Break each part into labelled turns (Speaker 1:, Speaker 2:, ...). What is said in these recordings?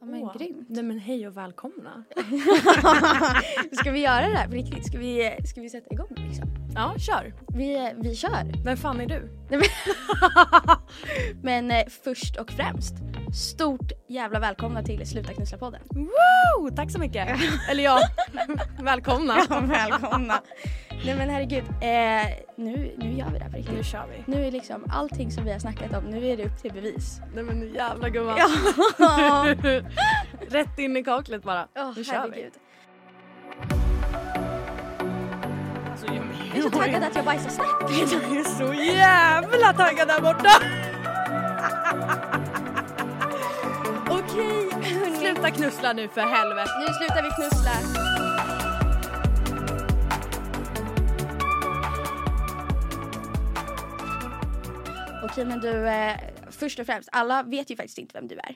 Speaker 1: Ja, men
Speaker 2: Åh,
Speaker 1: grymt.
Speaker 2: Nej men hej och välkomna.
Speaker 1: ska vi göra det här på riktigt? Ska vi, ska vi sätta igång liksom?
Speaker 2: Ja, kör.
Speaker 1: Vi, vi kör.
Speaker 2: Vem fan är du?
Speaker 1: Nej, men- Men eh, först och främst, stort jävla välkomna till Sluta Knussla-podden.
Speaker 2: Woo! Tack så mycket. Eller ja, välkomna.
Speaker 1: välkomna. Nej men herregud, eh, nu, nu gör vi det här på
Speaker 2: Nu
Speaker 1: riktigt.
Speaker 2: kör vi.
Speaker 1: Nu är liksom allting som vi har snackat om, nu är det upp till bevis.
Speaker 2: Nej men nu jävla gumman.
Speaker 1: Ja.
Speaker 2: Rätt in i kaklet bara.
Speaker 1: Åh,
Speaker 2: nu kör vi.
Speaker 1: herregud.
Speaker 2: Alltså,
Speaker 1: Jag är så taggad att jag bajsar snabbt.
Speaker 2: Jag är så jävla taggad där borta.
Speaker 1: Okej, hörni.
Speaker 2: Sluta knussla nu för helvete.
Speaker 1: Nu slutar vi knussla. Okej men du, eh, först och främst, alla vet ju faktiskt inte vem du är.
Speaker 2: Är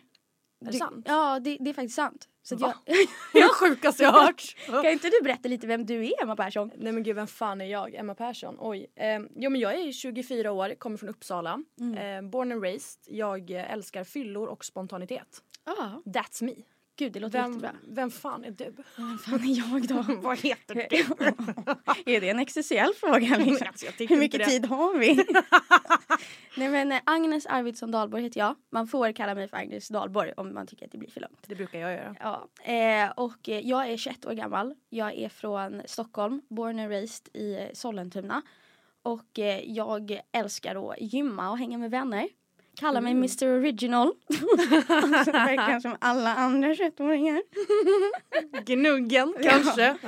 Speaker 1: Du,
Speaker 2: det sant?
Speaker 1: Ja, det, det är faktiskt sant. Så att jag,
Speaker 2: Va? Det är det sjukaste jag har hört.
Speaker 1: kan inte du berätta lite vem du är Emma Persson?
Speaker 2: Nej men gud, vem fan är jag? Emma Persson. Oj. Eh, jo men jag är 24 år, kommer från Uppsala.
Speaker 1: Mm.
Speaker 2: Eh, born and raised. Jag eh, älskar fyllor och spontanitet.
Speaker 1: Ja.
Speaker 2: That's me.
Speaker 1: Gud det låter
Speaker 2: Vem,
Speaker 1: jättebra.
Speaker 2: vem fan är du?
Speaker 1: Vem fan är jag då?
Speaker 2: Vad heter du?
Speaker 1: är det en existentiell fråga liksom?
Speaker 2: Alltså, jag tycker
Speaker 1: Hur mycket
Speaker 2: inte det.
Speaker 1: tid har vi? Nej men eh, Agnes Arvidsson Dahlborg heter jag. Man får kalla mig för Agnes Dahlborg om man tycker att det blir för långt.
Speaker 2: Det brukar jag göra.
Speaker 1: Ja, eh, och eh, jag är 21 år gammal. Jag är från Stockholm, born and raised i eh, Sollentuna. Och eh, jag älskar att gymma och hänga med vänner. Kallar
Speaker 2: Mm.
Speaker 1: mig Mr Original. alltså, verkar som alla andra 21-åringar.
Speaker 2: Gnuggen kanske.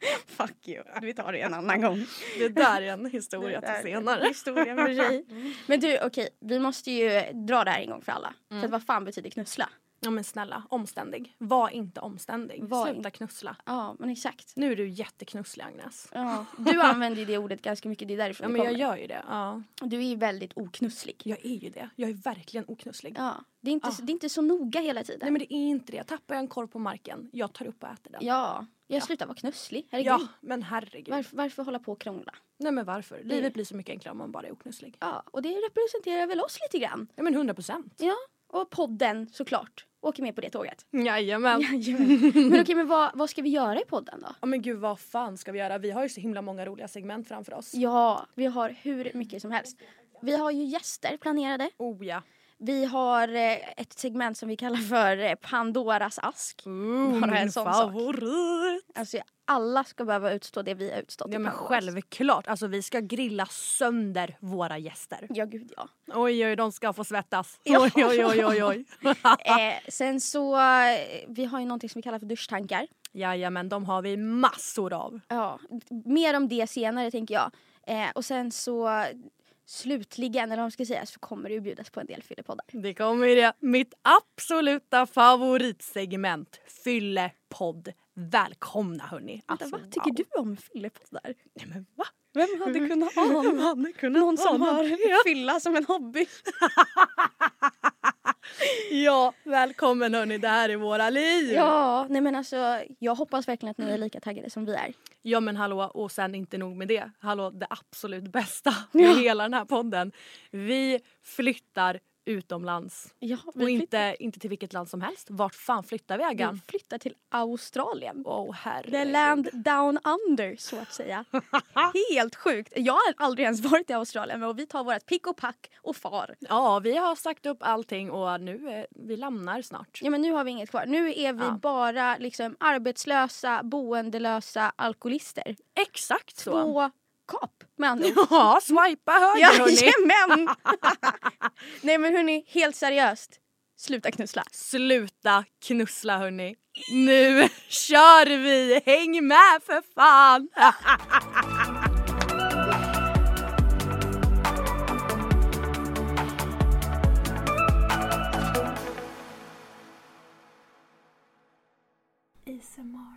Speaker 1: Fuck you, vi tar det en annan gång.
Speaker 2: Det där är en historia
Speaker 1: Det
Speaker 2: till
Speaker 1: där är
Speaker 2: senare.
Speaker 1: en historia för sig. Men du, okej, vi måste ju dra det här en gång för alla.
Speaker 2: Mm.
Speaker 1: För att vad fan betyder knussla?
Speaker 2: Ja men snälla, omständig. Var inte omständig.
Speaker 1: Var
Speaker 2: Sluta
Speaker 1: inte-
Speaker 2: knussla.
Speaker 1: Ja, men exakt.
Speaker 2: Nu är du jätteknusslig Agnes.
Speaker 1: Ja, du använder ju det ordet ganska mycket, det är därifrån
Speaker 2: Ja
Speaker 1: det
Speaker 2: men jag
Speaker 1: kommer.
Speaker 2: gör ju det. Ja.
Speaker 1: Du är ju väldigt oknusslig.
Speaker 2: Jag är ju det. Jag är verkligen oknusslig.
Speaker 1: Ja, det är inte,
Speaker 2: Ja.
Speaker 1: Så, det är inte så noga hela tiden.
Speaker 2: Ah. Nej men det är inte det. Tappar jag en korv på marken, jag tar upp och äter den.
Speaker 1: Ja, jag slutar vara knusslig. Herregud.
Speaker 2: Ja, men herregud.
Speaker 1: Varför, varför hålla på och krångla?
Speaker 2: Nej men varför? Livet blir så mycket enklare om man bara är oknusslig.
Speaker 1: Ja, och det representerar väl oss lite grann.
Speaker 2: Ja men 100 procent.
Speaker 1: Ja, och podden såklart. Åker med på det tåget.
Speaker 2: Jajamän.
Speaker 1: men okej, men vad, vad ska vi göra i podden då?
Speaker 2: Ja men gud vad fan ska vi göra? Vi har ju så himla många roliga segment framför oss.
Speaker 1: Ja, vi har hur mycket som helst. Vi har ju gäster planerade.
Speaker 2: Oh ja.
Speaker 1: Vi har eh, ett segment som vi kallar för eh, Pandoras ask.
Speaker 2: Ooh,
Speaker 1: Bara en
Speaker 2: min
Speaker 1: sån sak.
Speaker 2: Mm, favorit. Typ
Speaker 1: Alltså alla ska behöva utstå det vi har utstått. i
Speaker 2: Ja men
Speaker 1: Pandoras.
Speaker 2: självklart. Alltså vi ska grilla sönder våra gäster.
Speaker 1: Ja, gud ja.
Speaker 2: Oj oj, de ska få svettas.
Speaker 1: Ja.
Speaker 2: Oj oj oj oj oj.
Speaker 1: Eh, sen så, eh, vi har ju någonting som vi kallar för duschtankar.
Speaker 2: Jajamän, de har vi massor av.
Speaker 1: Ja. Mer om det senare tänker jag. Eh, och sen så slutligen, eller vad man ska säga, så kommer det ju bjudas på en del fyllepoddar.
Speaker 2: Det kommer ju det. Mitt absoluta favoritsegment. Fyllepodd. Välkomna hörni.
Speaker 1: Vänta,
Speaker 2: Alltså,
Speaker 1: vad tycker
Speaker 2: wow.
Speaker 1: du om fyllepoddar? Mm.
Speaker 2: Nej men va?
Speaker 1: Vem hade kunnat ha
Speaker 2: Vem hade kunnat
Speaker 1: någon som
Speaker 2: ana
Speaker 1: har
Speaker 2: det?
Speaker 1: fylla som en hobby?
Speaker 2: Ja, välkommen hörni, det här är våra liv!
Speaker 1: Ja, nej men alltså jag hoppas verkligen att ni är lika taggade som vi är.
Speaker 2: Ja men hallå, och sen inte nog med det. Hallå, det absolut bästa med hela den här podden. Vi flyttar utomlands.
Speaker 1: Ja,
Speaker 2: och inte, inte till vilket land som helst. Vart fan flyttar vi
Speaker 1: flyttar,
Speaker 2: Aggan?
Speaker 1: vi flyttar till Australien.
Speaker 2: Åh herregud.
Speaker 1: The land down under så att säga. Helt sjukt. Jag har aldrig ens varit i Australien men vi tar vårt pick och pack och far.
Speaker 2: Ja, vi har sagt upp allting och nu, eh, vi lämnar snart.
Speaker 1: Ja men nu har vi inget kvar. Nu är vi
Speaker 2: Ja.
Speaker 1: bara liksom arbetslösa, boendelösa, alkoholister.
Speaker 2: Exakt så.
Speaker 1: Två kap med andra ord.
Speaker 2: Ja, swipa höger
Speaker 1: Ja,
Speaker 2: hörni.
Speaker 1: Jajamän! Nej men hörni, helt seriöst. Sluta knussla.
Speaker 2: Sluta knussla hörni. Nu kör vi! Häng med för fan!
Speaker 3: ASMR.